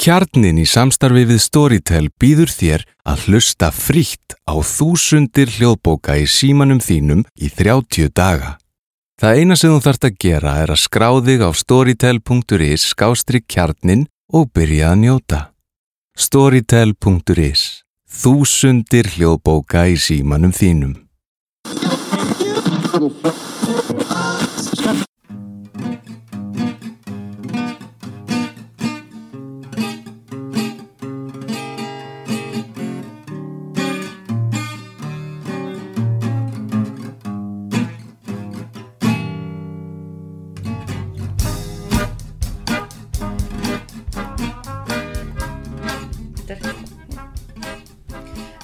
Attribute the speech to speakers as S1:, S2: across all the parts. S1: Kjarnin í samstarfi við Storytel býður þér að hlusta frítt á þúsundir hljóðbóka í símanum þínum í 30 daga. Það eina sem þú þart að gera er að skráðig á storytel.is skástrík kjarnin og byrja að njóta. Storytel.is Þúsundir hljóðbóka í símanum þínum.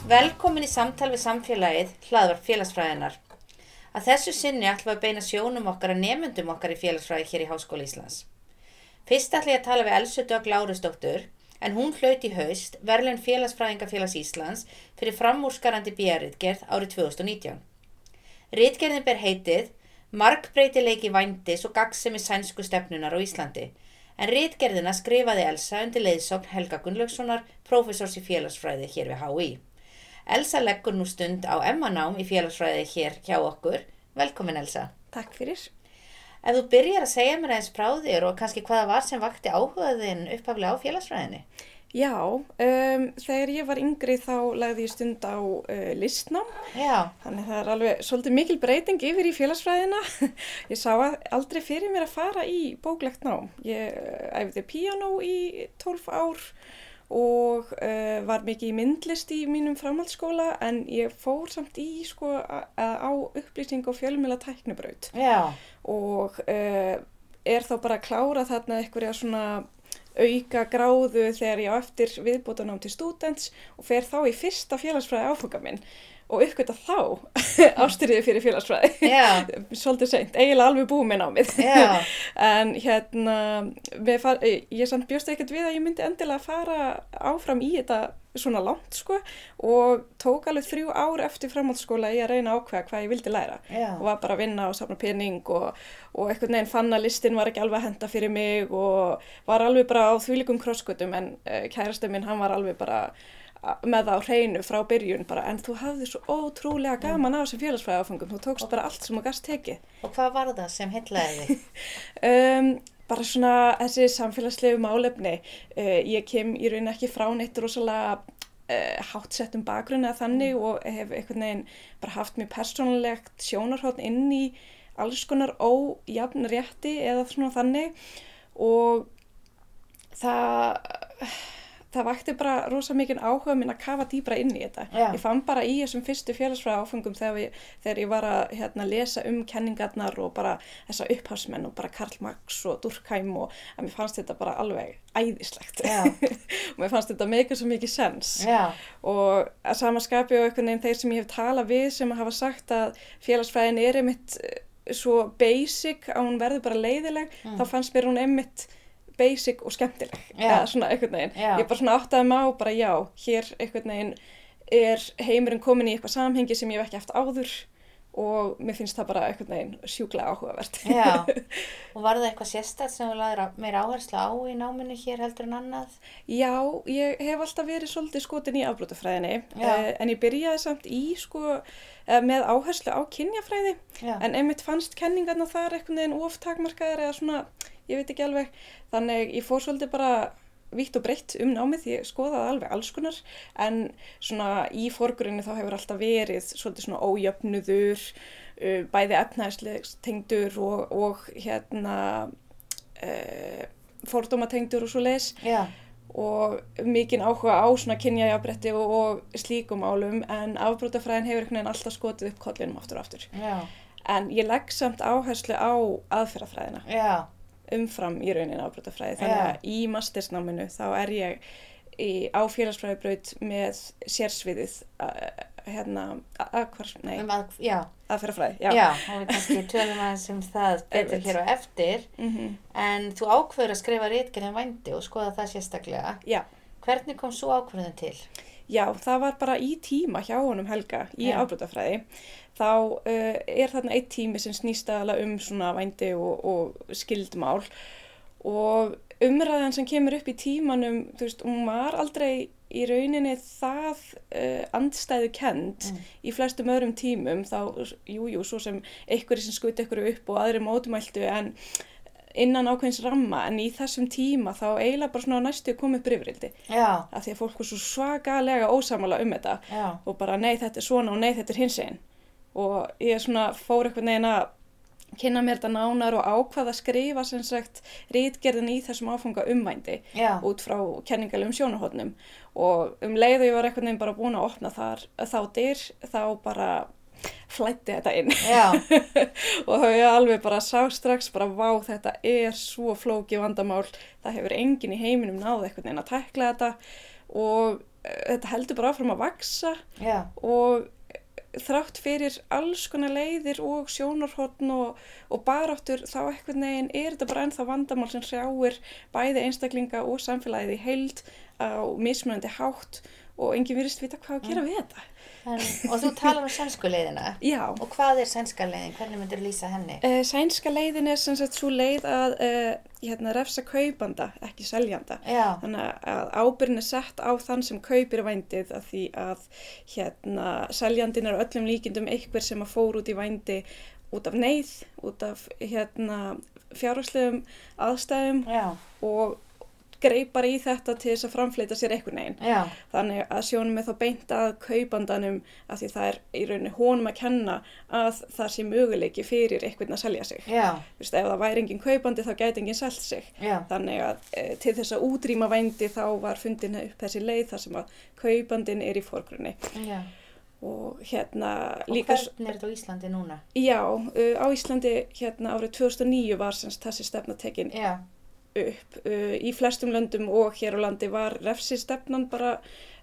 S2: Velkomin í samtal við samfélagið, hlaðvar félagsfræðinar. Að þessu sinni ætlum við að beina sjónum okkar að nefndum okkar í félagsfræði hér í Háskóli Íslands. Fyrst ætlum ég að tala við Elsu Dögg Lárusdóttur, en hún hlaut í haust verðlun Félagsfræðingafélags Íslands fyrir framúrskarandi bíjarritgerð árið 2019. Ritgerðin ber heitið Markbreytileiki vændis og gaggsemi sænsku stefnunar á Íslandi, en ritgerðina skrifaði Elsa undir leiðsókn Helga Gunnlaugssonar, prófessors í félagsfræði hér við HÍ. Elsa leggur nú stund á emmanám í félagsfræði hér hjá okkur. Velkomin Elsa.
S3: Takk fyrir.
S2: Ef þú byrjar að segja mér eins frá þér og kannski hvaða var sem vakti áhugaðin upphaflega á félagsfræðinni?
S3: Já, um, þegar ég var yngri þá lagði ég stund á uh, listnám,
S2: Já,
S3: þannig það er alveg svolítið mikil breyting yfir í félagsfræðina. ég sá að- aldrei fyrir mér að fara í bóklegt nám. Ég uh, æfði píanó í 12 ár og uh, var mikið í myndlist í mínum framhaldsskóla en ég fór samt í sko, a- að- á upplýsing og fjölmjöla tæknibraut.
S2: já,
S3: og uh, er þá bara að klára þarna einhverja svona auka gráðu þegar ég á eftir viðbútanám til students og fer þá í fyrsta félagsfræði áfanga minn og uppgöta þá ástyrðið fyrir félagsfræði
S2: já,
S3: svolítið seint, eiginlega alveg búið með námið
S2: já,
S3: en hérna mér far, ég samt bjóst ekkert við að ég myndi endilega fara áfram í þetta svona langt sko og tók alveg þrjú ár eftir framhaldsskóla í að reyna að ákveða hvað ég vildi læra
S2: já,
S3: og var bara að vinna og safna pening og, og einhvern veginn fann að listin var ekki alveg að henda fyrir mig og var alveg bara á þvílikum krosskutum en uh, kærasti minn hann var alveg bara a- með það á hreinu frá byrjun bara en þú hafði svo ótrúlega gaman af þessum félagsfræðafangum, þú tókst bara allt sem þú gast tekið
S2: Og hvað var það sem heitlaði þig?
S3: um, bara svona þessi samfélagslegu málefni uh, ég kem í raun ekki frá neitt rosalega uh, hátsettum bakgrunna þannig og hef einhvern veginn bara haft mér persónulegt sjónarhótt inn í alls konar ójafn rétti eða svona þannig og það það vakti bara rosa mikinn áhuga minn að kafa dýbra inn í þetta.
S2: Já.
S3: Ég fann bara í þessum fyrstu félagsfræða áfengum þegar, ég- þegar ég var að hérna, lesa um kenningarnar og bara þessa upphásmenn og bara Karl Marx og Durkheim og að mér fannst þetta bara alveg æðislegt.
S2: Já.
S3: og mér fannst þetta meika svo mikið sens
S2: Já,
S3: og að sama skapi og einhvern veginn þeir sem ég hef talað við sem hafa sagt að félagsfræðin er einmitt eh, svo basic að hún verður bara leiðileg þá fannst mér hún einmitt basic og skemmtileg
S2: Mm. Já.
S3: eða svona einhvern veginn
S2: Já.
S3: ég bara svona áttaði mig á bara já hér einhvern veginn er heimurinn komin í eitthvað samhengi sem ég hef ekki haft áður og mér finnst það bara einhvern veginn sjúklega áhugavert
S2: já. Og var það eitthvað sérstætt sem þú laðir á- meira áherslu á í náminu hér heldur en annað?
S3: Já, ég hef alltaf verið svolítið skotin í afbrotafræðinni
S2: Já.
S3: eh, en ég byrjaði samt í sko eh, með áherslu á kynjafræði
S2: Já,
S3: en einmitt fannst kenningarna þar einhvern veginn oftakmarkaðar eða svona, ég veit ekki alveg þannig ég fór svolítið bara vitt og breytt um námið, ég skoðaði alveg alls konar en svona í forgrunni þá hefur alltaf verið svolítið svona ójöfnuður uh, bæði efnæðislegs tengdur og, og hérna uh, fordómatengdur og svo leis
S2: já,
S3: og mikinn áhuga á svona kynjajafbretti og, og slíkum álum en afbrotafræðin hefur einhvern veginn alltaf skotið upp kollinum aftur og aftur
S2: já,
S3: en ég legg samt áherslu á aðferðafræðina
S2: já,
S3: umfram í raunin afbrotafræði þannig
S2: Já.
S3: að í mastersnáminu þá er ég í, á félagsfræðibraut með sérsviðið uh, hérna, a- aðhvarf, nei,
S2: um að, já,
S3: aðferðafræði
S2: já,
S3: já,
S2: og við kannski tölum aðeins um það betur
S3: Einmitt.
S2: hér á eftir.
S3: Mhm.
S2: En þú ákveður að skrifa rítgerðin vændi og skoða það sérstaklega.
S3: já.
S2: Hvernig kom svo ákveðin til?
S3: Já, það var bara í tíma hjá honum Helga í
S2: Já.
S3: afbrotafræði. Þá uh, er þarna eitt tími sem snýst aðalega um svona vændi og, og skildmál og umræðan sem kemur upp í tímanum, þú veist, hún var aldrei í rauninni það uh, andstæðu kend í flestum öðrum tímum, þá, jú, jú, svo sem einhverju sem skuti einhverju upp og aðri mótumæltu, en innan ákveðins ramma, en í þessum tíma þá eiginlega bara svona næstu kom upp rifrildi
S2: já,
S3: af því að fólk var svo svakalega ósamala um þetta
S2: já,
S3: og bara nei þetta er svona og nei þetta er hins einn og ég svona fór eitthvað neginn að kynna mér þetta nánar og ákvað að skrifa sem sagt rítgerðin í þessum áfanga umvændi
S2: já,
S3: út frá kenningalegum sjónahotnum og um leið og ég var eitthvað neginn bara búin að opna þar þá dyr þá bara flætti þetta inn
S2: já,
S3: og þá ég alveg bara sá strax bara vá þetta er svo flóki vandamál það hefur enginn í heiminum náð eitthvað neina að tækla þetta og eh, þetta heldur bara áfram að vaksa
S2: já,
S3: og eh, þrátt fyrir alls konar leiðir og sjónarhorn og, og baráttur þá eitthvað neginn er þetta bara ennþá vandamál sem hrjáir bæði einstaklinga og samfélagið í heild á mismunandi hátt og enginn virðist vita hvað að gera við þetta.
S2: en, og þú talar um sænsku leiðina
S3: Já.
S2: og hvað er sænska leiðin, hvernig myndir lýsa henni?
S3: Eh, Sænska leiðin er sem sagt svo leið að uh, hérna, refsa kaupanda, ekki seljanda.
S2: Já,
S3: Þannig að ábyrgin er sett á þann sem kaupir vændið að því að hérna, seljandin er að öllum líkindum einhver sem að fór út í vændi út af neyð, út af hérna, fjárhagslegum aðstæðum
S2: já,
S3: og greipar í þetta til þess að framfleyta sér einhvern veginn.
S2: já,
S3: Þannig að sjónum er þá beint að kaupandanum af því það er í rauninni honum að kenna að það sé möguleiki fyrir einhvern að selja sig.
S2: já,
S3: Þú veist, ef það væri engin kaupandi þá gæti engin selt sig.
S2: já,
S3: Þannig að e, til þess að útrýma vændi þá var fundin upp þessi leið þar sem að kaupandin er í forgrunni.
S2: já.
S3: Og hérna
S2: Og
S3: líka, s-
S2: hvernig er þetta á Íslandi núna?
S3: já, uh, á Íslandi hérna árið 2009 var semst þessi stefna tekin
S2: Já,
S3: upp. Uh, Í flestum löndum og hér á landi var refsistefnan bara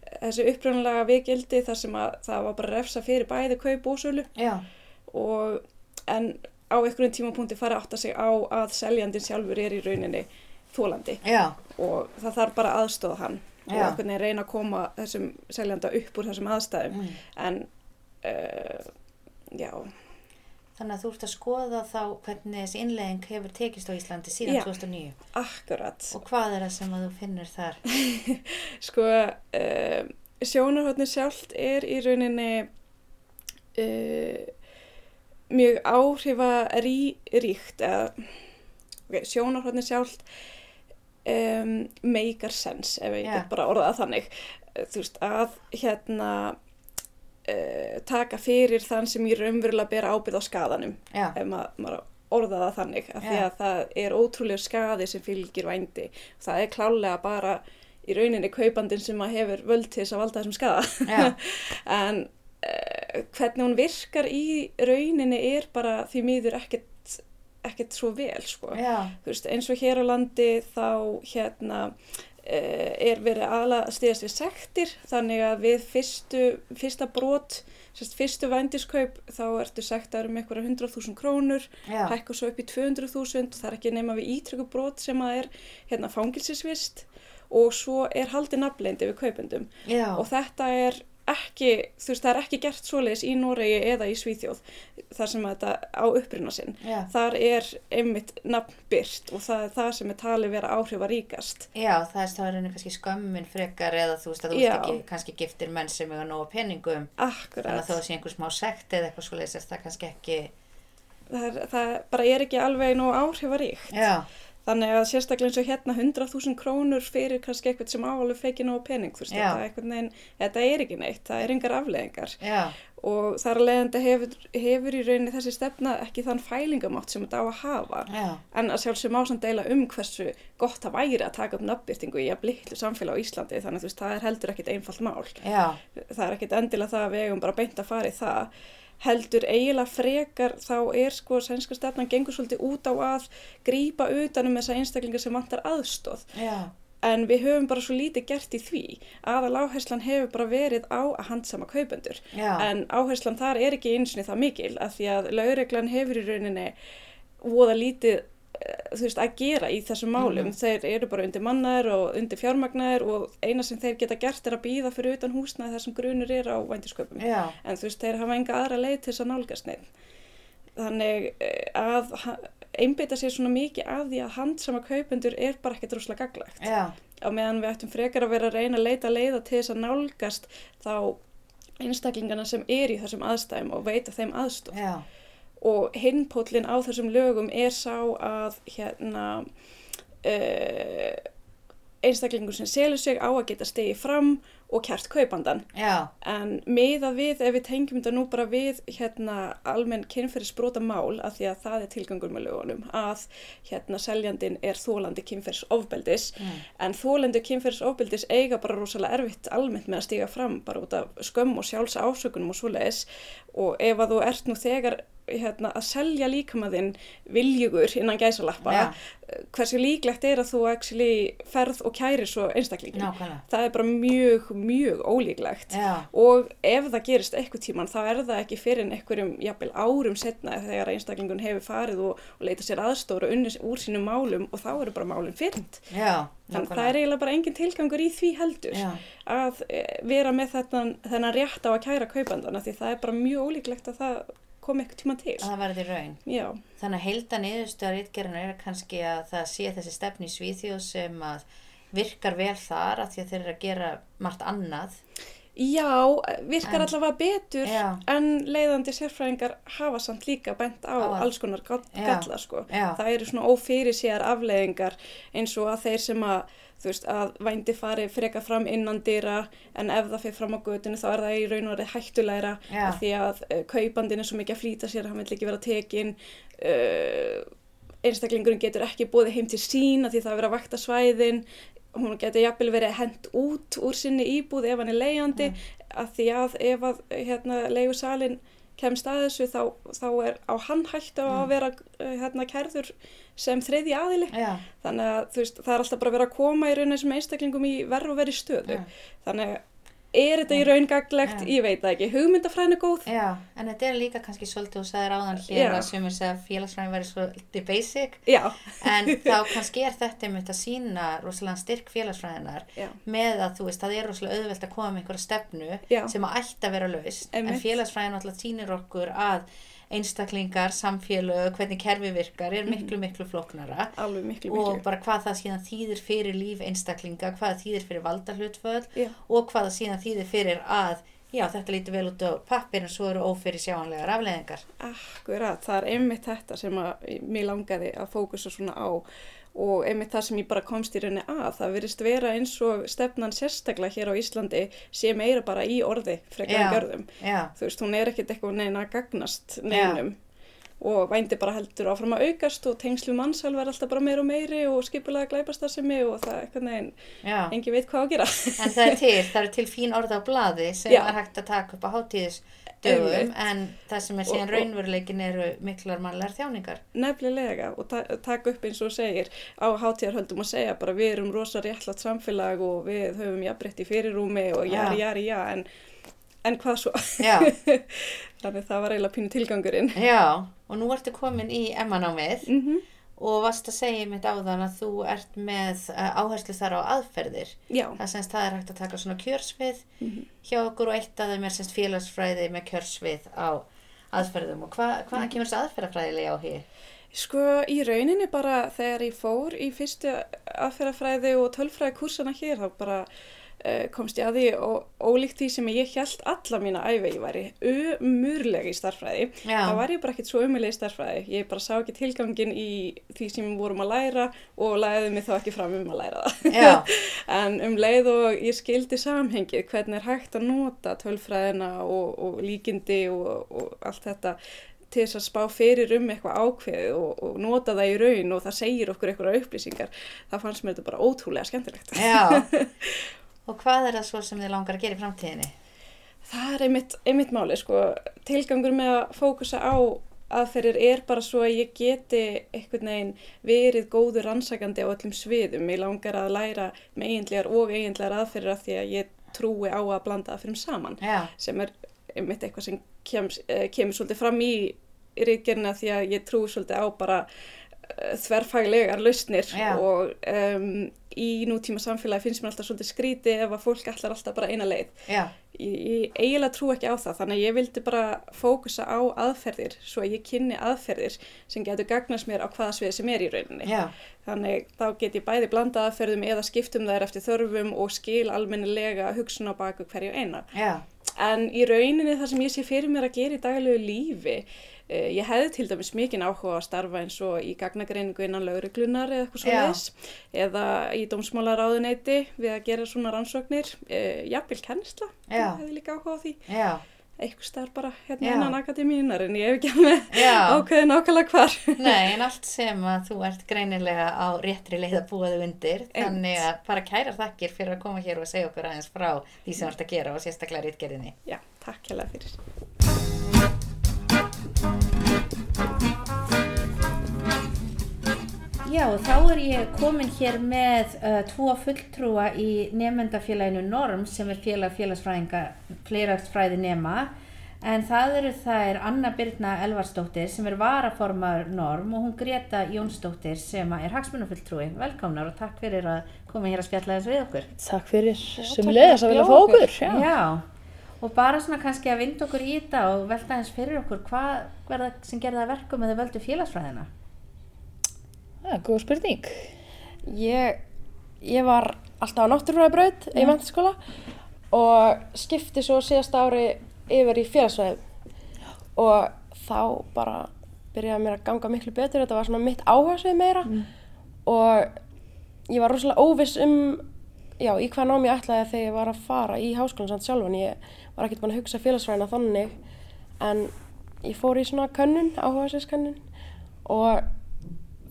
S3: eh, þessi upprunalega vikildi þar sem að það var bara refsa fyrir bæði kaup og sölu
S2: já,
S3: og en á einhverjum tímapunkti fara að átta sig á að seljandin sjálfur er í rauninni þólandi
S2: já,
S3: og það þarf bara aðstóða hann og
S2: Já.
S3: einhvern veginn reyna að koma þessum seljanda upp úr þessum aðstæðum
S2: Mm.
S3: en uh, já,
S2: þannig að þú ert að skoða þá hvernig þessi innleiðing hefur tekist á Íslandi síðan
S3: Já.
S2: 2009
S3: akkurat
S2: og hvað er það sem að þú finnur þar?
S3: sko uh, sjónarhóttni sjálft er í rauninni uh, mjög áhrifa rí, ríkt eða okay, sjónarhóttni sjálft um, meikar sens ef ég
S2: Já.
S3: get bara orðað það þannig Eh, þú veist að hérna uh, taka fyrir þann sem ég raunverulega ber ábyrð á skadanum
S2: Já,
S3: ef ma maður orða það þannig af því
S2: Já.
S3: að það er ótrúlega skaði sem fylgir vændi það er klálega bara í rauninni kaupandin sem að hefur völd til þess að valda þessum skaða
S2: Já.
S3: en uh, hvernig hún virkar í rauninni er bara því miður ekkert, ekkert svo vel sko.
S2: já,
S3: Þú veist, eins og hér á landi þá hérna uh, er verið aðla að stíðast við sektir þannig að við fyrstu, fyrsta brot, sérst, fyrstu vændiskaup þá ertu sektar um einhverja 100.000 krónur,
S2: já,
S3: hækka svo upp í 200.000, það er ekki nema við ítryggu brot sem að er hérna fangilsisvist og svo er haldið nafnleindi við kaupendum
S2: já,
S3: og þetta er ekki, þú veist, það er ekki gert svoleiðis í Noregi eða í Svíþjóð þar sem að þetta á uppruna sinn
S2: já.
S3: þar er einmitt nafnbyrt og það er það sem er talið vera áhrifaríkast.
S2: Já, það er þá er henni kannski skömmin frekar eða þú veist að þú
S3: Já.
S2: veist ekki kannski giftir menn sem eiga nóga peningum þannig
S3: Akkurat.
S2: að þó að sé einhver smá sekt eða eitthvað svoleiðis er það kannski ekki
S3: Það, er, það bara er ekki alveg nóg áhrifaríkt.
S2: Já,
S3: Þannig að sérstaklega eins og hérna 100.000 krónur fyrir kannski eitthvað sem ávalið feikið nóg pening, þú veist,
S2: Já.
S3: þetta, er einhvern veginn, þetta er ekki neitt, það er engar afleðingar.
S2: já,
S3: Og þar að leiðandi hefur, hefur í rauninni þessi stefna ekki þann fælingamátt sem þetta á að hafa.
S2: já,
S3: En að sjálfsögum ásamt deila um hversu gott það væri að taka upp nafnbyrtingu í að blitlu samfélag á Íslandi, þannig að þú veist, það er heldur ekkit einfalt mál.
S2: já,
S3: það er ekkit endilega það að við eigum bara beint að fara í það heldur eiginlega frekar þá er sko sænska stefnan gengur svolítið út á að grípa utanum þessa einstaklingar sem vantar aðstóð
S2: já,
S3: en við höfum bara svo lítið gert í því aðal áherslan hefur bara verið á að handsama kaupendur
S2: já,
S3: en áherslan þar er ekki einsinni það mikil af því að lögreglan hefur í rauninni voða lítið eh, þú veist, að gera í þessum málum
S2: Mhm.
S3: þeir eru bara undir mannaðir og undir fjármagnaðir og eina sem þeir geta gert er að býða fyrir utan húsnaði þar sem grunur er á vændisköpum
S2: já,
S3: en þú veist, þeir hafa enga aðra leið til þess að nálgast neitt þannig eh, að ha- einbeita sér svona mikið að því að handsama kaupendur er bara ekkert rosalega gaglagt.
S2: já,
S3: Á meðan við ættum frekar að vera að reyna að leita leiða til þess að nálgast þá einstaklingana sem er í þessum aðstæðum og veita þeim aðstof
S2: já,
S3: og hinpóllin á þessum lögum er sá að hérna uh, einstaklingur sem selur sig á að geta stegið fram og kjart kaupandan
S2: já,
S3: en miðað við ef við tengjum þetta nú bara við hérna almenn kynferðisbrota mál af því að það er tilgangur með lögunum að hérna seljandin er þólandi kynferðisofbeldis
S2: Mm.
S3: en þólandi kynferðisofbeldis eiga bara rosalega erfitt almennt með að stíga fram bara út af skömm og sjálfs ásökunum og svoleiðis og ef að þú ert nú þegar hérna að selja líkamaðinn viljugur innan gæsalappa
S2: Já.
S3: hversu líklegt er að þú actually ferð og kærir svo einstaklingin
S2: nákvæmlega,
S3: það er bara mjög, mjög ólíklegt
S2: já,
S3: og ef það gerist eitthvað tíman þá er það ekki fyrir en einhverjum jafnvel árum setna þegar einstaklingun hefur farið og, og leita sér aðstóra unnis úr sínum málum og þá eru bara málum fyrnt
S2: já,
S3: þannig að það er eiginlega bara engin tilgangur í því heldur
S2: Já.
S3: að eh, vera með þennan, þennan rétt á að kæra kaupandana því það er bara mjög ólíklegt að það kom eitthvað tíman til
S2: að það verði raun.
S3: Já,
S2: Þannig að heilda niðurstöða rítgerðina er kannski að það sé þessi stefni í Svíþjóð sem að virkar vel þar af því að þeir eru að gera margt annað.
S3: Já virkar allavega betur
S2: Já.
S3: en leiðandi sérfræðingar hafa samt líka bent á
S2: Á að-
S3: alls konar gall,
S2: Já.
S3: galla sko.
S2: Já.
S3: Það eru svona ófyrir sér afleðingar eins og að þeir sem að þú veist að vændi fari freka fram innan dyra en ef það fyrir fram á götinu þá er það í raun og verið hættulegra
S2: Já.
S3: af því að uh, kaupandin er svo mikið að flýta sér, hann vil ekki vera tekin uh, einstaklingurinn getur ekki bóði heim til sín af því það er verið að vakta svæðin hún getur jafnvel verið hent út úr sinni íbúð ef hann er leiðandi af því að ef að hérna, leiðusalinn kemst að þessu þá, þá er á hann hættu á að vera eh, hérna, kærður sem þriði aðili
S2: Já,
S3: þannig að þú veist, það er alltaf bara verið að koma í raun þessum einstaklingum í verð og verið stöðu
S2: Já.
S3: þannig að er þetta í raun gaglegt,
S2: Já.
S3: ég veit það ekki hugmyndafræðin er góð
S2: já, en þetta er líka kannski svolítið og sagði ráðan hér
S3: Já.
S2: að sumir segja að félagsræðin verði svolítið basic
S3: Já,
S2: en þá kannski er þetta einmitt að sína rosalega styrk félagsfræðinar
S3: Já.
S2: með að þú veist, það er rosalega auðvelt að koma með einhverja stefnu
S3: Já.
S2: sem að ætti að vera laust en
S3: Einmitt.
S2: félagsfræðin alltaf sýnir okkur að einstaklingar, samfélög, hvernig kerfi virkar
S3: Mhm.
S2: er miklu, miklu flóknara
S3: alveg miklu, miklu
S2: og bara hvað það síðan þýðir fyrir líf einstaklinga, hvað það þýðir fyrir valdahlutföll
S3: Já.
S2: og hvað það síðan þýðir fyrir að já, þetta lítur vel út á pappir en svo eru ófyrir sjáanlegar afleðingar
S3: Akkurat, það er einmitt þetta sem að mér langaði að fókusa svona á og einmitt það sem ég bara komst í rauninni að. Það virðist vera eins og stefnan sérstaklega hér á Íslandi sé meira bara í orði frekar en görðum.
S2: já,
S3: Þú veist, hún er ekkert eitthvað neina að gagnast neinum og vændi bara heldur áfram að aukast og tengslu mannsal verða alltaf bara meira og meiri og skipulega glæpast það sem ég og það er eitthvað neginn,
S2: já.
S3: engin veit hvað á að gera.
S2: En það er til, það eru til fín orð á blaði sem
S3: Já.
S2: er hægt að taka upp á hátíðisdögum
S3: Einmitt.
S2: en það sem er
S3: Og-
S2: síðan
S3: og-
S2: raunveruleikin eru miklar mannlegar þjáningar.
S3: Nefnilega og ta taka upp eins og þú segir á hátíðarhöldum og segja bara við erum rosa réttlátt samfélag og við höfum jafnbreytt í fyrirrúmi og
S2: Já.
S3: jari, jari, já, en, en hvað svo?
S2: Já.
S3: Þannig það var eiginlega pínu tilgangurinn.
S2: Já, og nú ertu komin í emmanámið
S3: Mm -hmm.
S2: og varst að segja mitt áðan að þú ert með eh, áherslu þar á aðferðir.
S3: Já,
S2: Það semst það er hægt að taka svona kjörsvið hjá okkur og eitt að þeim er semst félagsfræði með kjörsvið á aðferðum og hva, hvaðan kemur þessi aðferðafræðilega á hér?
S3: sko í rauninni bara þegar ég fór í fyrstu aðferðafræði og tölfræði kursana hér þá bara uh, komst ég að því og ólíkt því sem ég held alla mína æfi ég væri umurleg í starffræði.
S2: Já.
S3: þá var ég bara ekkert svo umileg í starfræði ég bara sá ekki tilgangin í því sem við vorum að læra og læði mig þá ekki fram um að læra
S2: Já.
S3: það en um leið og ég skildi samhengið hvernig er hægt að nota tölfræðina og, og líkindi og, og allt þetta til þess að spá fyrir um eitthvað ákveðið og, og nota það í raun og það segir okkur eitthvað upplýsingar það fannst mér þetta bara ótrúlega skemmtilegt
S2: Já. og hvað er það svo sem þið langar að gera í framtíðinni?
S3: Það er einmitt, einmitt máli, sko. Tilgangur með að fókusa á aðferðir er bara svo að ég geti einhvern veginn verið góður rannsakandi á öllum sviðum. Ég langar að læra með eiginlegar og eiginlegar aðferðir af því að ég trúi á að blanda aðferðum saman
S2: Já.
S3: sem er einmitt eitthvað sem kems, eh, kemur svolítið fram í rítgerina því að ég trúi svolítið á bara eh, þverfaglegar lausnir
S2: Já.
S3: og um, í nútíma samfélagi finnst mér alltaf svolítið skríti ef að fólk ætlar alltaf bara eina leið.
S2: já,
S3: Ég, ég eiginlega trú ekki á það, þannig að ég vildi bara fókusa á aðferðir svo að ég kynni aðferðir sem getur gagnast mér á hvaða svið sem er í rauninni.
S2: já,
S3: Þannig þá get ég bæði blanda aðferðum eða skiptum þær eftir þörfum og skil almennilega hugsun á baku hverju eina.
S2: já,
S3: En í rauninni það sem ég sé fyrir mér að gera í daglegu lífi, eh, ég hefði til dæmis mikinn áhuga á að starfa eins og í gagnagreiningu innan lauruglunar eða eitthvað svo
S2: Já.
S3: leiðis, eða í dómsmálaráðuneyti við að gera svona rannsóknir, eh, jafnvel kennsla,
S2: Já.
S3: ég hefði líka áhuga á því,
S2: já,
S3: eitthvað starf bara
S2: Já.
S3: hérna innan akademíunar en ég hef ekki alveg
S2: já.
S3: ákveðið nákvæmlega hvar.
S2: Nei, en allt sem að þú ert greinilega á réttri leið að búa þau undir þannig að bara kærar þakkir fyrir að koma hér og segja okkur aðeins frá því sem þú ert að gera og sérstaklega rítgerðinni.
S3: Já, takk hella fyrir.
S2: Já, og þá er ég komin hér með uh, tvo fulltrúa í nefndafélaginu Norm sem er félag félagsfræðinga fleiragsfræði nema en það eru þær Anna Birna Elvarsdóttir sem er varaformaður Norm og hún Greta Jónsdóttir sem að er hagsmunafulltrúi. Velkomnar og takk fyrir að koma hér að spjalla þess við okkur.
S4: Takk fyrir sem leiðast að vilja fá okkur. Já.
S2: Já, og bara svona kannski að vinda okkur í þetta og velta eins fyrir okkur hvað verða sem gerða það verkum að þau völdu félagsfræðina?
S4: Það er góð spurning.
S5: Ég, ég var alltaf á náttúrfræðibraut í mentaskóla og skipti svo síðasta ári yfir í félagsfræðum og þá bara byrjaði mér að ganga miklu betur, þetta var svona mitt áhersvið meira og ég var rosalega óviss um já, í hvað nám ég ætlaði þegar ég var að fara í háskólan samt sjálfan, ég var ekkert búin að hugsa félagsfræðina þannig en ég fór í svona könnun, áhugaðsvískönnun og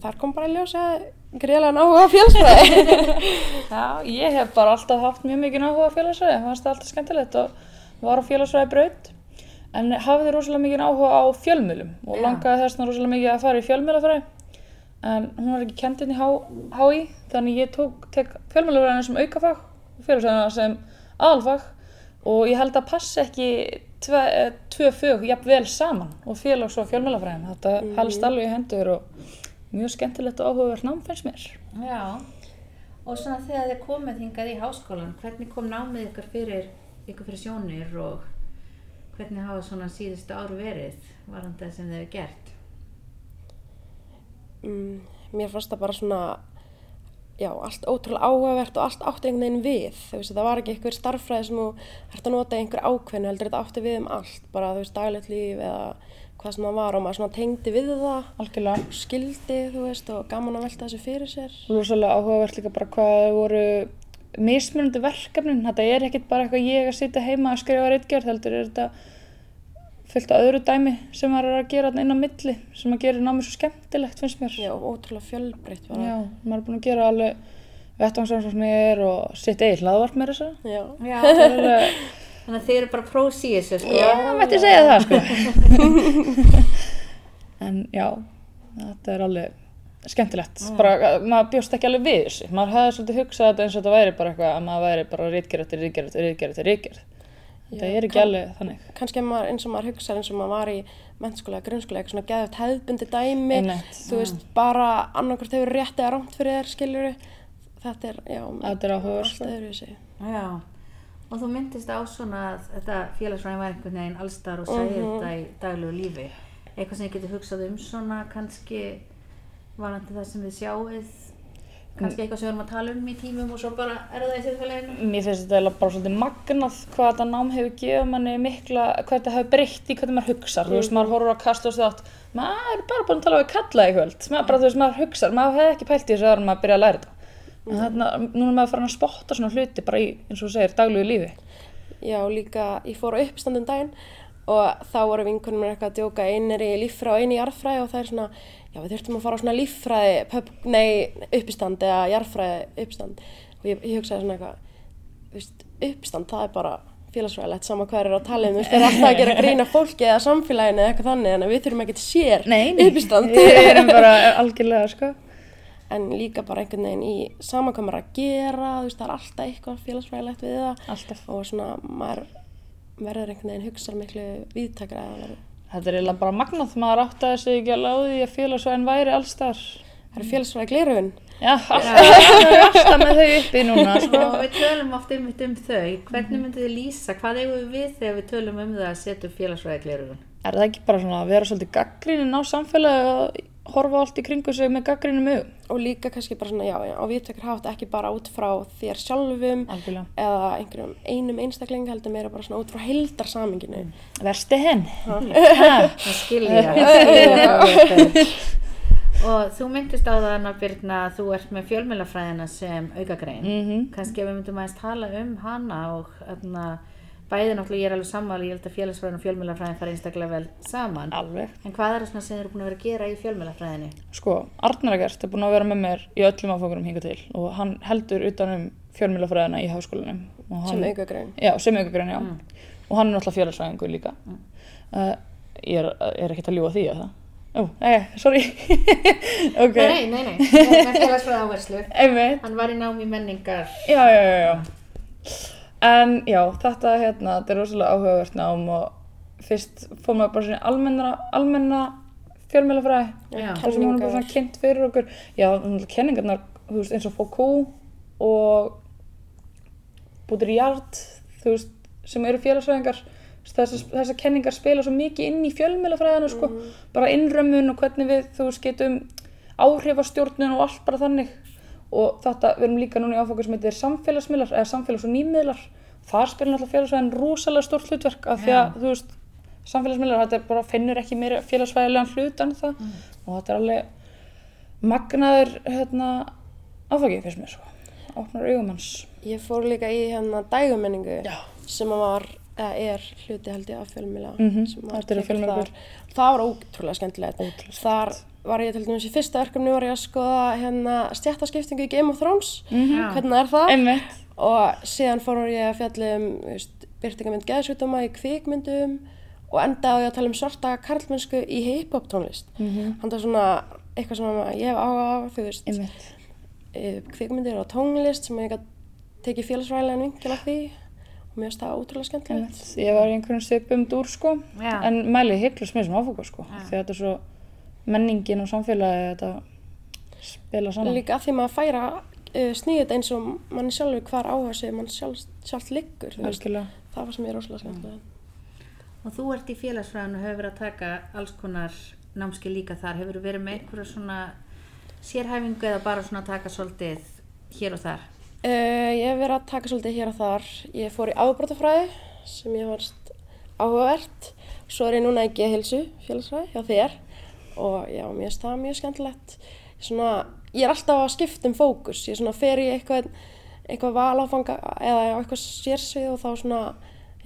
S5: þar kom bara í ljós að greiðlega áhuga á félagsfræði
S4: Já, ég hef bara alltaf haft mjög mikið áhuga á félagsræði, fannst það alltaf skemmtilegt og var á félagsræði braut. En hafði rosalega mikið áhuga á fjölmjölum og
S2: Já.
S4: langaði þess vegna rosalega mikið að fara í fjölmjölafræði. En hún var ekki kendin í HÍ, þannig ég tók, tek fjölmjölafræðina sem aukafag og félagsræðina sem aðalfag og ég held að passi ekki tve, eh, tvö fög jafn vel saman og félags- og fjölmjölafræðin. Þetta helst alveg í hendur og mjög skemmtilegt og áhugavert nám finnst mér.
S2: Já, og svona þegar þið komið hingað í háskólan, hvernig kom námið ykkur fyrir, ykkur fyrir sjónir og hvernig hafa svona síðustu ár verið varandi það sem þið hefur gert?
S5: mm, mér fannst það bara svona já, allt ótrúlega áhugavert og allt átti einhvern veginn við þú veist, það var ekki einhver starffræði sem þú ert að nota í einhver ákveðinu, heldur þetta átti við um allt bara þú veist, daglegt líf eða hvað sem það var og maður svona tengdi við það
S4: Algjörlega.
S5: skildi, þú veist, og gaman að velta þessu fyrir sér
S4: Rósalega áhugavert líka bara hvað það voru mismunandi verkefnin. Þetta er ekkert bara eitthvað ég að sitja heima að skrifa reitgerð, heldur er þetta fullt af öðru dæmi sem maður er að gera þarna inn á milli, sem að gera námið svo skemmtilegt, finnst mér.
S5: já, og ótrúlega fjölbreytt
S4: Já,
S5: bara
S4: maður er búin að gera alveg vettvangsrannsóknir og sitt eigið hlaðvarp meira þess að.
S5: já.
S2: Já,
S4: Það er alveg,
S2: þannig að þið eru bara prós í þessu sko.
S4: já, það mætti segja það, sko. en já, þetta er alveg skemmtilegt, bara, eh, maður bjóst ekki alveg við þessu, maður hefði svolítið hugsað þetta eins og þetta væri bara eitthvað að maður væri bara rítgerð eftir rítgerð eftir rítgerð eftir rítgerð þetta
S5: Já,
S4: er ekki
S5: kann-
S4: alveg þannig
S5: kannski ef maður, eins og maður hugsa eins og maður var í mennskóla, grunnskóla, eitthvað svona geðut hefðbundi dæmi,
S4: Einmitt. Mm.
S5: þú veist, bara annarkvært hefur rétt eða rámt fyrir þér, skiljur þetta er, já,
S4: Þetta er áhugavert,
S5: allt
S4: sko.
S5: öðru þessi
S2: Já, og þú myndist á svona að þetta félagsfræðin var einhvern veginn allstar og sæði þetta í daglegu lífi. Eitthvað sem ég geti hugsað um svona kannski varandi það sem þið sjáuð, kannski eitthvað sem við erum að tala um í tímum og svo bara er það í þjóðfélaginu.
S4: mér finnst þetta eiginlega bara svolítið magnað hvað þetta nám hefur gefið manni mikla hvað þetta hefur breytt í hvernig maður hugsar þú veist, maður horfur á kastljós þátt maður er bara búin að tala við kalla í kvöld maður, bara, þú veist, maður hugsar, maður hefði ekki pælt í þessu áður en maður byrja að læra þetta en þarna, núna er maður farin að spotta svona hluti bara í, eins og þú segir, daglegu lífi
S5: Já, líka, ég fór á uppstandum daginn og þá voru vinkunum mér eitthvað að djóka einn er í líffræði og einn í jarðfræði og það er svona, já, við þurftum að fara á svona líffræði, pub, nei, uppistand eða jarðfræði uppistand og ég, ég hugsaði svona eitthvað, þú veist, uppistand, það er bara félagsfræðilegt sama hver er að tala um, þú veist, það er alltaf að gera grína fólki eða samfélaginu eða eitthvað þannig, en við þurfum ekkert sér uppistand.
S4: við erum bara algjörlega sko.
S5: En líka bara einhvern veginn í samankomar að gera, þú veist, það er alltaf eitthvað félagsfræðilegt við það
S4: alltaf
S5: og svona maður verður einhvern veginn hugsa miklu víðtakra að verður
S4: Þetta er eiginlega bara magnað, maður áttaði sig ekki alveg á því að félagsvæðin væri allstar.
S5: það eru félagsfræði glerugun.
S4: Já, alltaf með þau uppi núna, sko.
S6: Og við tölum oft einmitt um þau. Hvernig myndið þið lýsa? Hvað eigum við við þegar við tölum um það að setja upp félagsfræði glerugun?
S4: Er það ekki bara svona að vera svolítið gaggrínin á samfélagi og horfa á allt í kringu sig með gaggrínum augum?
S5: og líka kannski bara svona, já, já, á viðtökur hátt ekki bara út frá þér sjálfum
S4: Algjörlega.
S5: eða einhverjum einum einstakling heldur meira bara svona út frá heildarsaminginu.
S4: Mm. Versti henn.
S6: Það skilja ég. Og þú myndist á það Anna Birna að þú ert með fjölmjölafræðina sem aukagrein. Mm -hmm. Kannski ef við myndum aðeins tala um hana og öfna, bæði náttúrulega ég er alveg sammála, ég held að félagsfræðin og fjölmjölafræðin fara einstaklega vel saman.
S4: Alveg.
S6: En hvað er það svona sem þið eru búin að vera að gera í fjölmjölafræðinni?
S4: Sko, Arnar Egert er búinn að vera með mér í öllum áfangurum hinga til og hann heldur utanum fjölmjölafræðina í háskólanum. og
S5: Sem
S4: hann-
S5: aukagrein.
S4: Já, sem aukagrein, já. Og hann er náttúrulega félagsfræðingur líka. Uh, ég er, er ekkert að ljúa því að það. Ó, nei, sorry. ok.
S6: Nei, nei, nei, nei, með félagsfræði áherslu.
S4: Einmitt.
S6: Hann var í námi menningar.
S4: já, já, já, já. En já, þetta hérna, þetta er rosalega áhugavert nám og fyrst fór maður bara svona almenna, almenna fjölmjölafræði.
S6: Já.
S4: Það sem hún er bara svona kynnt fyrir okkur. Já, náttúrulega kenningarnar, þú veist, eins og Foucault og Baudrillard, þú veist, sem eru félagsfræðingar. Þessar, þessar kenningar spila svo mikið inn í fjölmjölafræðinu, sko. Bara innrömmun og hvernig við, þú veist, getum áhrifastjórnun og allt bara þannig. Og þetta, við erum líka núna í áfokur sem heitir samfélagsmiðlar, eða samfélags- og nýmiðlar. Þar spila náttúrulega félagsfræðin rosalega stórt hlutverk af því að, þú veist, samfélagsmiðlar, þetta er bara, finnur ekki meira félagsfræðilegan hlut en það og þetta er alveg magnaður hérna, áfagið fyrst mér sko. opnar augum hans
S5: Ég fór líka í hérna dægumenningu
S4: Já.
S5: sem að var, eða er hluti held ég af fjölmjöla.
S4: Mhm,
S5: sem var
S4: þetta eru
S5: tekin
S4: fjölmiðlabröð.
S5: þar. Það var ótrúlega skemmtilegt. Ótrúlega Þar var ég til dæmis í fyrsta verkefni var ég að skoða hérna stjættaskiptingu í Game of Thrones.
S6: Já.
S5: Hvernig er það?
S4: Mhm. einmitt
S5: og síðan fór ég að fjalla um þú veist, byrtingamind geðsjúkdóma í kvikmyndum og endaði á ég að tala um svarta karlmennsku í hip-hop tónlist mm -hmm. hann er svona eitthvað sem að ég hef áhuga á þú veist,
S4: Mhm. einmitt
S5: eh, kvikmyndir og tónlist sem ég gæti tekið félagsræðilegan vingil af því og mér finnst það ótrúlega skemmtilegt
S4: Einmitt. Ég var í einhverjum svipum dúr sko,
S6: Já.
S4: en mæli heiklust með sem áfokur sko, því að þetta er svo menningin og samfélagi þetta spila saman.
S5: líka að því maður færa uh, snýðið eins og mann sjálfur hvar áhuga sem mann sjálf, sjálf liggur þú veist.
S4: Algjörlega.
S5: það var sem ég er ótrúlega skemmtilegt
S6: Og þú ert í félagsfræðinu og hefur verið að taka alls konar námski líka þar. Hefur þú verið með einhverja svona sérhæfingu eða bara svona að taka svolítið hér og þar?
S5: Uh, ég hef verið að taka svolítið hér og þar. Ég fór í afbrotafræði sem ég fannst áhugavert. Svo er ég núna í geðhilsu félagsfræði hjá þér og já, mér finnst það mjög skemmtilegt. Ég, svona, ég er alltaf að skipta um fókus. Ég svona fer í eitthvað, eitthvað valáfanga eða á eitthvað sérsvið og þá svona,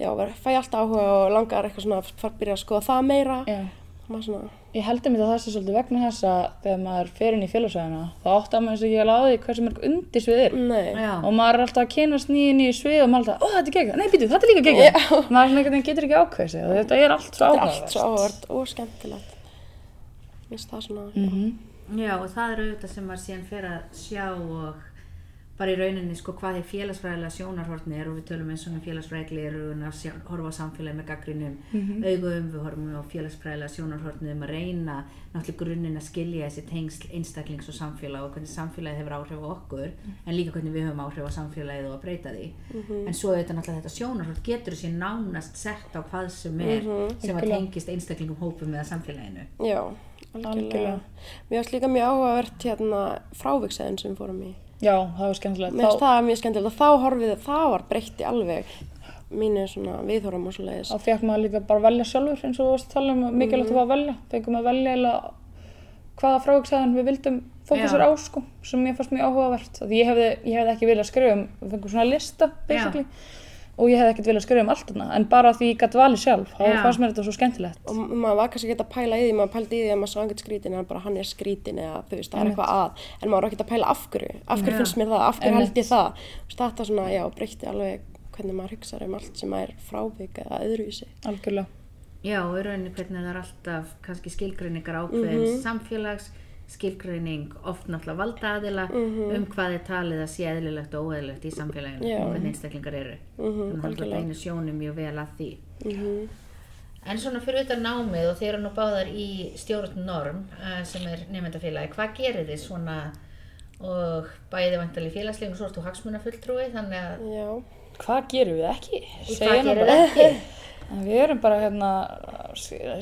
S5: já, ver- fæ ég alltaf áhuga og langar eitthvað svona að fara að byrja að skoða það meira.
S4: Já.
S5: Maður svona,
S4: Ég heldur mér að það sé svolítið vegna þess að þegar maður fer inn í félagsvæðina þá áttar maður sig ekki alveg á því hversu mörg undisvið er.
S5: nei.
S6: Já.
S4: og maður er alltaf að kynast nýju nýju svið og maður er alltaf, ó þetta er geggjað, nei býtu, þetta er líka geggjað maður er svona einhvern veginn getur ekki ákveð sig og þetta er allt svo
S5: Þetta er allt
S4: ákveð
S5: svo áhugavert og skemmtilegt. Mér finnst það svona, já.
S6: Já, og það eru auðvitað sem maður síðan fer að sjá og bara í rauninni sko hvað er félagsfræðilega sjónarhortni er og við tölum eins og um félagsfræðilega eru að sjá, horfa á samfélagi með gaggrinum augum, við horfum á félagsfræðilega sjónarhortni um að reyna náttúrulega grunninn að skilja þessi tengsl einstaklings og samfélag og hvernig samfélagið hefur áhrif á okkur en líka hvernig við höfum áhrif á samfélagið og að breyta því en svo auðvitað náttúrulega þetta sjónarhort getur sér nánast sett á hvað sem er sem að tengist einstaklingum hópum eða samfélaginu
S5: Já, algjörlega.
S4: Algjörlega.
S5: Mér varst líka mjög áhugavert hérna fráviksæðin sem við fórum í.
S4: já, það var skemmtilegt
S5: Mér finnst
S4: þá,
S5: það mjög skemmtilegt og þá horfið það var breytti alveg mínu svona viðhorfum og svo leiðis.
S4: þá fekk maður líka bara að velja sjálfur eins og þú varst að tala um, að mikilvægt að fá að velja fengum að velja eiginlega hvaða fráviksæðan við vildum fókusar
S6: Já.
S4: á sko, sem mér fannst mjög áhugavert Af því ég hefði, ég hefði ekki viljað skrifa um við fengum svona lista, basically og ég hefði ekkert viljað skrifa um allt þarna en bara af því ég gætt valið sjálf, þá
S6: Já.
S4: fannst mér þetta svo skemmtilegt
S5: Og maður var kannski ekki að pæla í því, maður pældi í því að maður sá einhvern skrítin en bara hann er skrítin eða þú veist, það er eitthvað að. En maður var ekki að pæla af hverju, af hverju finnst mér það, af hverju held ég það. Þú veist, Þetta svona, já, breytti alveg hvernig maður hugsa um allt sem er frávik eða öðruvísi.
S4: algjörlega
S6: Já, og í rauninni hvernig það er alltaf kannski skilgreiningar ákveðins samfélags, skilgreining oft náttúrulega valdaðila um hvað er talið að sé eðlilegt og óeðlilegt í samfélaginu
S5: Já.
S6: og hvernig einstaklingar eru. Þannig að það er alltaf einu sjónum mjög vel að því. En svona fyrir utan námið og þeir eru nú báðar í stjórn norm uh, sem er nefndafélagi, hvað gerir þið svona og bæði vantali félagslegum og svo ertu hagsmunafulltrúi þannig að
S5: Já,
S4: Hvað gerum við ekki?
S6: Hvað
S4: Segjum
S6: gerum
S4: bara.
S6: við ekki?
S4: En Við erum bara hérna,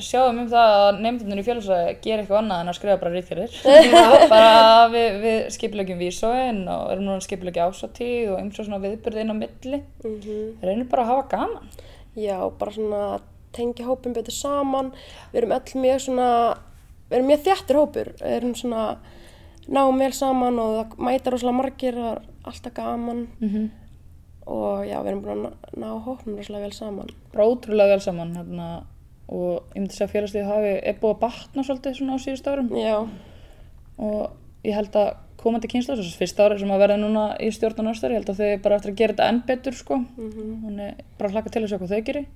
S4: sjáum um það að nefndunir í félagsræði gera eitthvað annað en að skrifa bara rítgerðir. bara við, við skipilegjum vísóin og erum núna skipilegja ásatíð og eins og svona viðbyrði inn á milli. Mm
S5: mhm.
S4: Reynum bara að hafa gaman.
S5: já, bara svona að tengja hópin betur saman. Við erum öll mjög svona, við erum mjög þjættir hópur. Við erum svona, náum vel saman og það mæta rosalega margir og það er alltaf gaman.
S4: Mhm.
S5: Og já, við erum búin að ná- ná hópin rosalega vel saman.
S4: Bara ótrúlega vel saman hérna og ég myndi segja að félagslífið hafi er búið að batna svolítið svona á síðustu árum
S5: Já,
S4: og ég held að komandi kynslu, þessu fyrsta ári sem að verða núna í stjórnum næstar, ég held að þau bara eftir að gera þetta enn betur sko, mm er bara að hlaka til að sjá hvað þau gerir.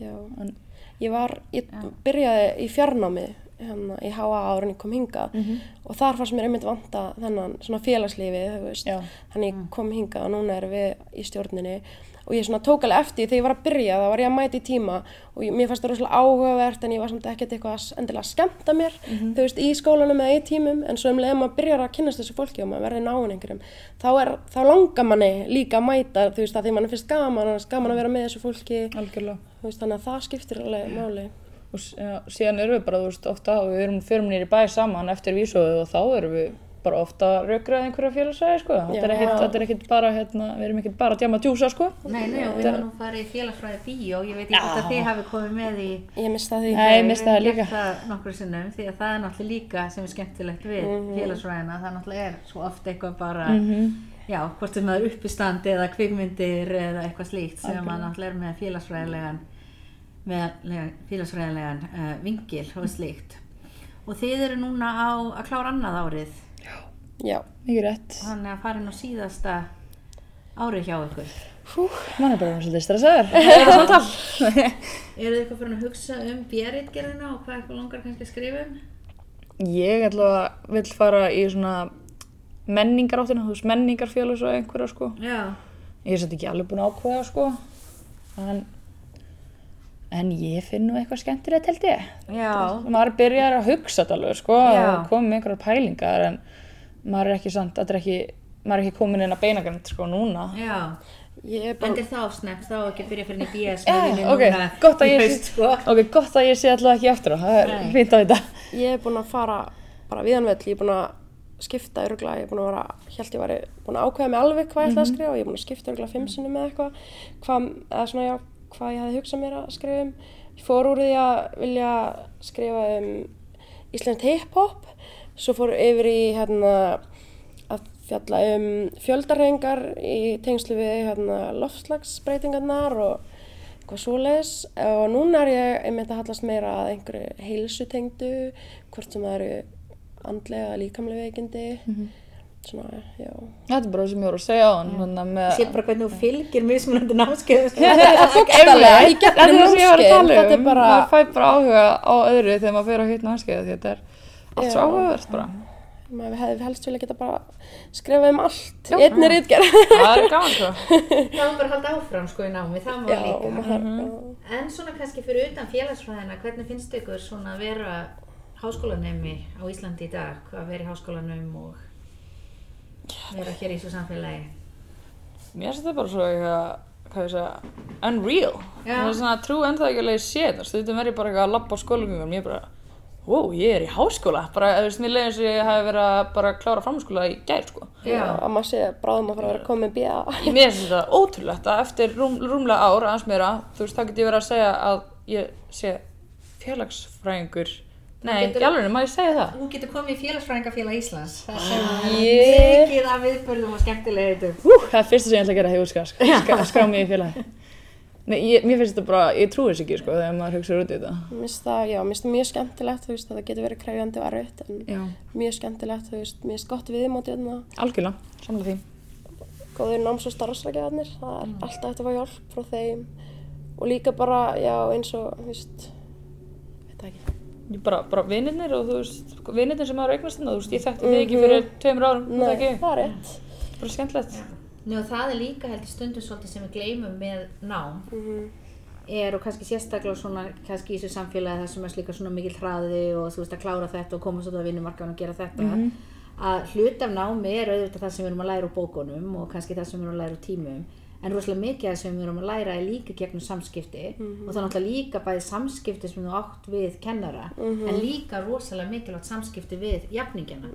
S5: já.
S4: En-
S5: Ég var, ég byrjaði í fjarnámi hérna í HA ára en ég kom hingað
S4: Mhm.
S5: og þar fannst mér einmitt vanta þennan svona félagslífi, þú veist,
S4: Já. Mm.
S5: þannig ég kom hingað og núna erum við í stjórninni og ég svona tók alveg eftir því þegar ég var að byrja, þá var ég að mæta í tíma og ég, mér fannst það rosalega áhugavert en ég var samt ekkert eitthvað að s- endilega skemmta mér,
S4: Mhm.
S5: þú veist, í skólanum eða í tímum en svo um leiðum maður byrjar að kynnast þessu fólki og maður verði náin einhverjum, þá, er, þá langar manni líka að mæta, þú veist, að því mann finnst gaman, annars gaman að vera með þessu fólki,
S4: Algjörlega.
S5: Þú veist, þannig að það skiptir alveg máli.
S4: og s- já, síðan erum við bara, þú veist, ofta og við erum fyrir nýri bæ saman eftir vísóðu og þá erum við bara ofta raukraðið einhverja félagsæði, sko. Þetta er
S5: Já.
S4: ekkert- þetta er ekkert bara, hérna, við erum ekkert bara að djama djúsa, sko.
S6: Nei, nei, og við erum nú farið í félagsfræði bíó, ég veit ekki hvort að þið hafi komið með í
S5: Ég mista því.
S4: Nei, ég misti það
S6: Við höfum
S4: líka.
S6: gert það nokkru sinnum því að það er náttúrulega líka sem er skemmtilegt við
S4: Mhm.
S6: félagsfræðina, það náttúrulega er svo oft eitthvað bara, já, hvort sem það er uppistandi eða kvikmyndir eða eitthvað slíkt sem að náttúrulega er með félagsfræðilegan, með lega- félagsfræðilegan uh, vingil og
S4: Mhm.
S6: slíkt. Og þið eru núna á að klára annað árið,
S5: Já.
S4: Mikið rétt.
S6: þannig að farin á síðasta árið hjá ykkur.
S4: Man er bara orðinn svolítið stressaður. Það er samtal.
S6: Eru þið eitthvað farin að hugsa um björritgerðina og hvað eitthvað langar kannski að skrifa um?
S4: Ég ætla að vil fara í svona menningar áttina, þú veist, menningar félagsæði einhverja, sko.
S6: Já,
S4: Ég er svolítið ekki alveg búin að ákveða, sko. En, en ég finn nú eitthvað skemmtilegt, held ég.
S6: já,
S4: maður byrjar að hugsa þetta alveg sko
S6: Já.
S4: og koma með einhverjar pælingar en maður er ekki samt, þetta er ekki maður er ekki komin inn að beinagrönd sko núna
S6: já.
S5: Ég er bara,
S6: Endir þá snepp, þá ekki byrja fyrir nýtt BS
S4: Já,
S6: með
S4: ok,
S6: núna
S4: gott að
S6: í
S4: ég
S6: haust, sko.
S4: ok, gott að ég sé alltaf ekki aftur á, það er
S6: Nei.
S4: fínt að þetta
S5: ég er búin að fara bara viðanveld, ég er búin að skipta öruglega, ég er búin að vera, ég held ég væri búin að ákveða mig alveg hvað ég ætla að skrifa og ég er búin að skipta öruglega fimm sinnum eða eitthvað, hvað, eða svona já, hvað ég hefði hugsað mér að skrifa um. Ég fór úr því að vilja skrifa um íslenskt hip-hop, svo fór yfir í hérna að fjalla um fjöldarhengar í tengslu við hérna, loftslagsbreytingarnar og eitthvað svoleiðis og núna er ég einmitt að hallast meira að einhverju heilsutengdu, hvort sem það eru andlega, eða líkamlega veikindi, svona, já.
S4: þetta er bara það sem ég voru að segja á hann hérna, með,
S6: Sér bara hvernig þú fylgir mismunandi námskeið.
S4: Einmitt,
S5: Bókstaflega, í
S4: þetta
S5: gegnum
S4: er það sem ég var að
S5: námskeið,
S4: tala um
S5: þetta er bara,
S4: maður fæ bara áhuga á öðru þegar maður fyrir að hitt námskeið því þetta er allt svo
S5: Já.
S4: áhugavert bara
S5: maður hefði helst vilja geta bara skrifað um allt, í einni rítgerð.
S4: það er gaman sko
S6: Það var bara að halda áfram sko í námi, það má
S5: Já, og
S6: líka.
S5: maður,
S6: En svona kannski fyrir utan félagsfræðina, hvernig finnst ykkur svona að vera háskólanemi á Íslandi í dag? Hvað að vera í háskólanum og vera hér í þessu samfélagi?
S4: mér finnst þetta bara svo eitthvað hvað ég segja, unreal
S6: Já.
S4: það er svona trú en það ekki alveg shit og stundum er ég bara eitthvað að labba á skólagöngunum ég er bara, wow, ég er í háskóla bara, þú veist, mér leiði eins og ég hafi verið að bara klára framskóla í gær, sko
S5: já, að maður sé bráðum að fara að vera komin bíða.
S4: mér finnst þetta ótrúlegt að eftir rúm, rúmlega ár aðeins meira, þú veist, þá get ég verið að segja að ég sé félagsfræðingur nei,
S6: getur-
S4: í alveg, má ég segja það?
S6: Þú getur komið í félagsfræðingafélag Íslands. Það sem
S4: Yeah.
S6: er mikið af viðbörðum og skemmtilegitum.
S4: Hú, það er fyrsta sem ég ætla að gera þegar ég útskrifast, sko. Skrá- skrá mig í félagi Nei, ég, mér finnst þetta bara, ég trúi þess ekki, sko, þegar maður hugsa út í þetta.
S5: Mér finnst það, já, mér finnst það mjög skemmtilegt, þú veist, það getur verið krefjandi og erfitt, en
S4: Já.
S5: mjög skemmtilegt, þú veist, mér finnst gott viðmótið þarna.
S4: Algjörlega, samla því.
S5: góðir náms- og starfsrækjaðarnir, það er alltaf hægt að fá hjálp frá þeim og líka bara, já, eins og, þú veist, veit það ekki.
S4: Ég bara, bara vinnirnir og þú veist, vinnirnir sem maður eignast hérna, þú veist, ég þekkti þig ekki fyrir tveimur árum, þú
S5: Nei,
S4: þekki,
S5: það er rétt.
S4: bara skemmtilegt.
S6: Nú, það er líka heldur stundum svolítið sem við gleymum með nám er og kannski sérstaklega svona kannski í þessu samfélagi það sem er slíka svona mikil hraði og þú veist að klára þetta og komast út á vinnumarkaðan og gera þetta að hlut af námi er auðvitað það sem við erum að læra úr bókunum og kannski það sem við erum að læra úr tímum en rosalega mikið af það sem við erum að læra er líka gegnum samskipti og það er náttúrulega líka bæði samskipti sem þú átt við kennara en líka rosalega mikilvægt samskipti við jafningina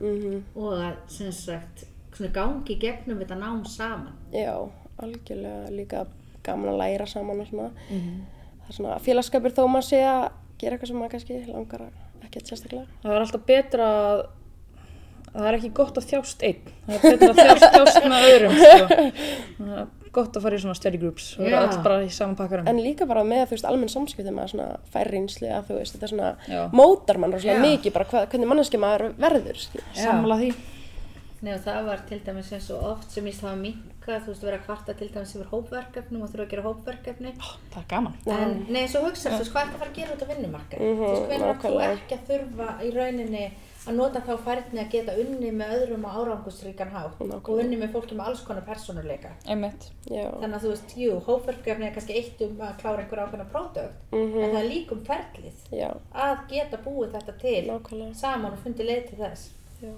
S6: og að sem sagt svona gangi gegnum þetta nám saman
S5: Já, algjörlega líka gaman að læra saman og svona. Það er svona félagskapur þó maður sé að gera eitthvað sem maður kannski langar að ekkert sérstaklega.
S4: Það er alltaf betra að það er ekki gott að þjást einn. Það er betra að þjást, þjást með öðrum, sko. Það er gott að fara í svona study groups og vera
S6: Já.
S4: öll bara í saman pakkarum.
S5: En líka bara með þú veist almenn samskipti með svona fær reynslu að þú veist þetta svona
S4: Já.
S5: mótar mann rosalega
S6: Já.
S5: mikið bara hvað, hvernig manneski maður verður. skilur.
S4: Sammála því.
S6: Nei og það var til dæmis eins og oft sem ég stáði að minka, þú veist, vera að kvarta til dæmis yfir hópverkefnum og þurfa að gera hópverkefni.
S4: Það er gaman.
S6: En nei, svo hugsa, þú veist, hvað ertu að fara að gera út á vinnumarkaði?
S5: Mhm,
S6: þú veist, hvernig átt þú
S5: nákvæmlega.
S6: ekki að þurfa í rauninni að nota þá færni að geta unni með öðrum á árangustrýkan hátt og
S5: Nákvæmlega.
S6: unni með fólki með alls konar persónuleika.
S4: Einmitt.
S5: Já,
S6: Þannig að þú veist, jú, hópverkefni er kannski eitt um að klára einhver ákveðna pródögt,
S5: Mhm.
S6: en það er líka um ferlið
S5: já,
S6: að geta búið þetta til
S5: nákvæmlega.
S6: saman og fundið leið til þess.
S5: Já.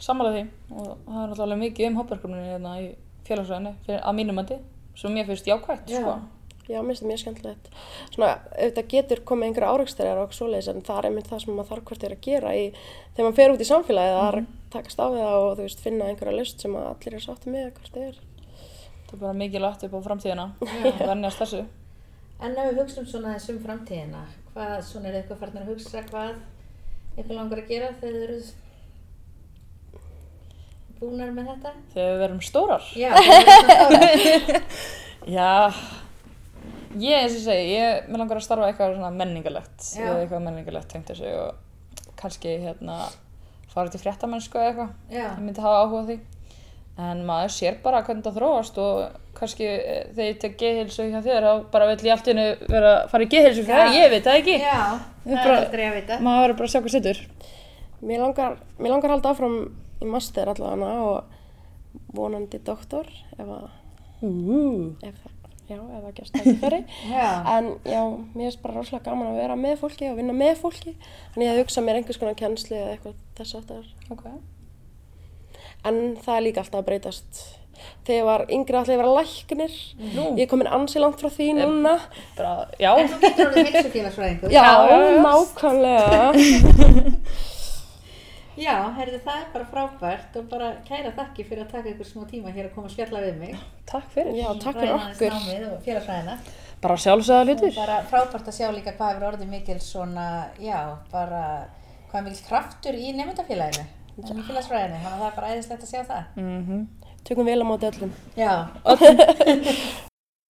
S4: Sammála því. Og það er náttúrulega mikið um hópverkefninu hérna í félagsræðinu fyrir að mínum mandi sem mér finnst jákvægt,
S6: Já.
S4: sko.
S5: Já, mér finnst það mjög skemmtilegt. Svona, auðvitað getur komið einhverja áreikstærar og svoleiðis en það er einmitt það sem maður þarf hvert er að gera í, þegar maður fer út í samfélagið að takast á við það og þú veist, finna einhverja laust sem að allir er sátti með hvert er.
S4: Það er bara mikið lagt upp á framtíðina. Það er nýjast þessu.
S6: En ef við hugsaum svona þess um framtíðina, hvað, svona er eitthvað farin að hugsa hvað eitthvað langar að gera þegar þið eru búnar með þetta?
S4: Þegar við verum stórar.
S6: Já, það er svona ára.
S4: Já, ég eins og ég segi, ég með langar að starfa eitthvað svona menningalegt,
S6: Já.
S4: eða eitthvað menningalegt tengt þessu og kannski hérna fara til fréttamennsku eða eitthvað,
S6: Já.
S4: ég myndi hafa áhuga á því. En maður sér bara hvernig það þróast og kannski eh, þegar ég tek geðhilsu hjá þér þá bara vill ég allt innu vera að fara í geðhilsu fyrir það, ég veit það ekki.
S6: Já, það er
S4: Bara-
S6: aldrei að vita.
S4: Maður verður bara að sjá hvað setur.
S5: Mér langar, mér langar að halda áfram í master allavega og vonandi doktor ef, að, ef, það- já, ef það gerst tækifæri.
S6: Já,
S5: en já, mér finnst bara rosalega gaman að vera með fólki og vinna með fólki. Þannig ég hef hugsað mér einhvers konar kennslu eða eitthvað þess aftar.
S4: Ok,
S5: En það er líka alltaf að breytast. Þegar ég var yngri ætlaði ég að vera læknir.
S4: Nú.
S5: Ég er komin ansi langt frá því núna.
S4: bara, já,
S6: en þú getur orðið heilsugélagsfræðingur.
S5: Já,
S4: já.
S5: nákvæmlega.
S6: Já, herði, það er bara frábært og bara kæra þakki fyrir að taka ykkur smá tíma hér að koma að spjalla við mig.
S4: takk fyrir.
S5: já, takk fyrir
S6: Ræða aðeins
S5: okkur.
S6: námið og félagsfræðina.
S4: Bara sjálfsögða
S6: Og
S4: hlutur.
S6: bara frábært að sjá líka hvað hefur orðið mikil svona, já, bara hvað er mikil kraftur í nefndafélaginu í félagsfræðinu, þannig að það er bara æðislegt að sjá það
S5: Tökum vel á móti öllum.
S6: Já,